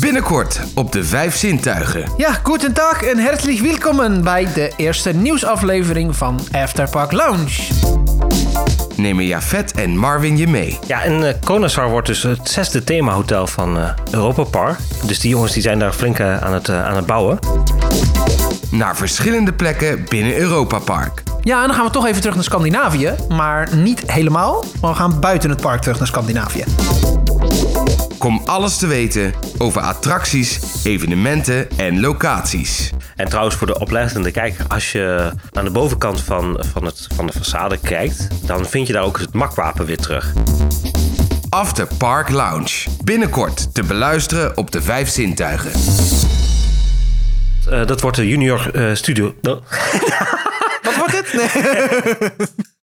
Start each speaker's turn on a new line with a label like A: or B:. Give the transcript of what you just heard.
A: Binnenkort op de Vijf Zintuigen.
B: Ja, goedendag en hartelijk welkom bij de eerste nieuwsaflevering van Afterpark Lounge.
A: Nemen Jafet en Marvin je mee.
C: Ja, en eh Konasar wordt dus het zesde themahotel van eh, Europa Park. Dus die jongens die zijn daar flink eh, aan, het, eh, aan het bouwen.
A: Naar verschillende plekken binnen Europa Park.
B: Ja, en dan gaan we toch even terug naar Scandinavië, maar niet helemaal. Maar we gaan buiten het park terug naar Scandinavië.
A: Kom alles te weten over attracties, evenementen en locaties.
C: En trouwens, voor de oplettende kijker, als je aan de bovenkant van, van, het, van de façade kijkt, dan vind je daar ook het makwapen weer terug.
A: After Park Lounge. Binnenkort te beluisteren op de Vijf Zintuigen.
C: Eh, dat wordt de junior eh, studio.
B: Wat wordt dit? Nee.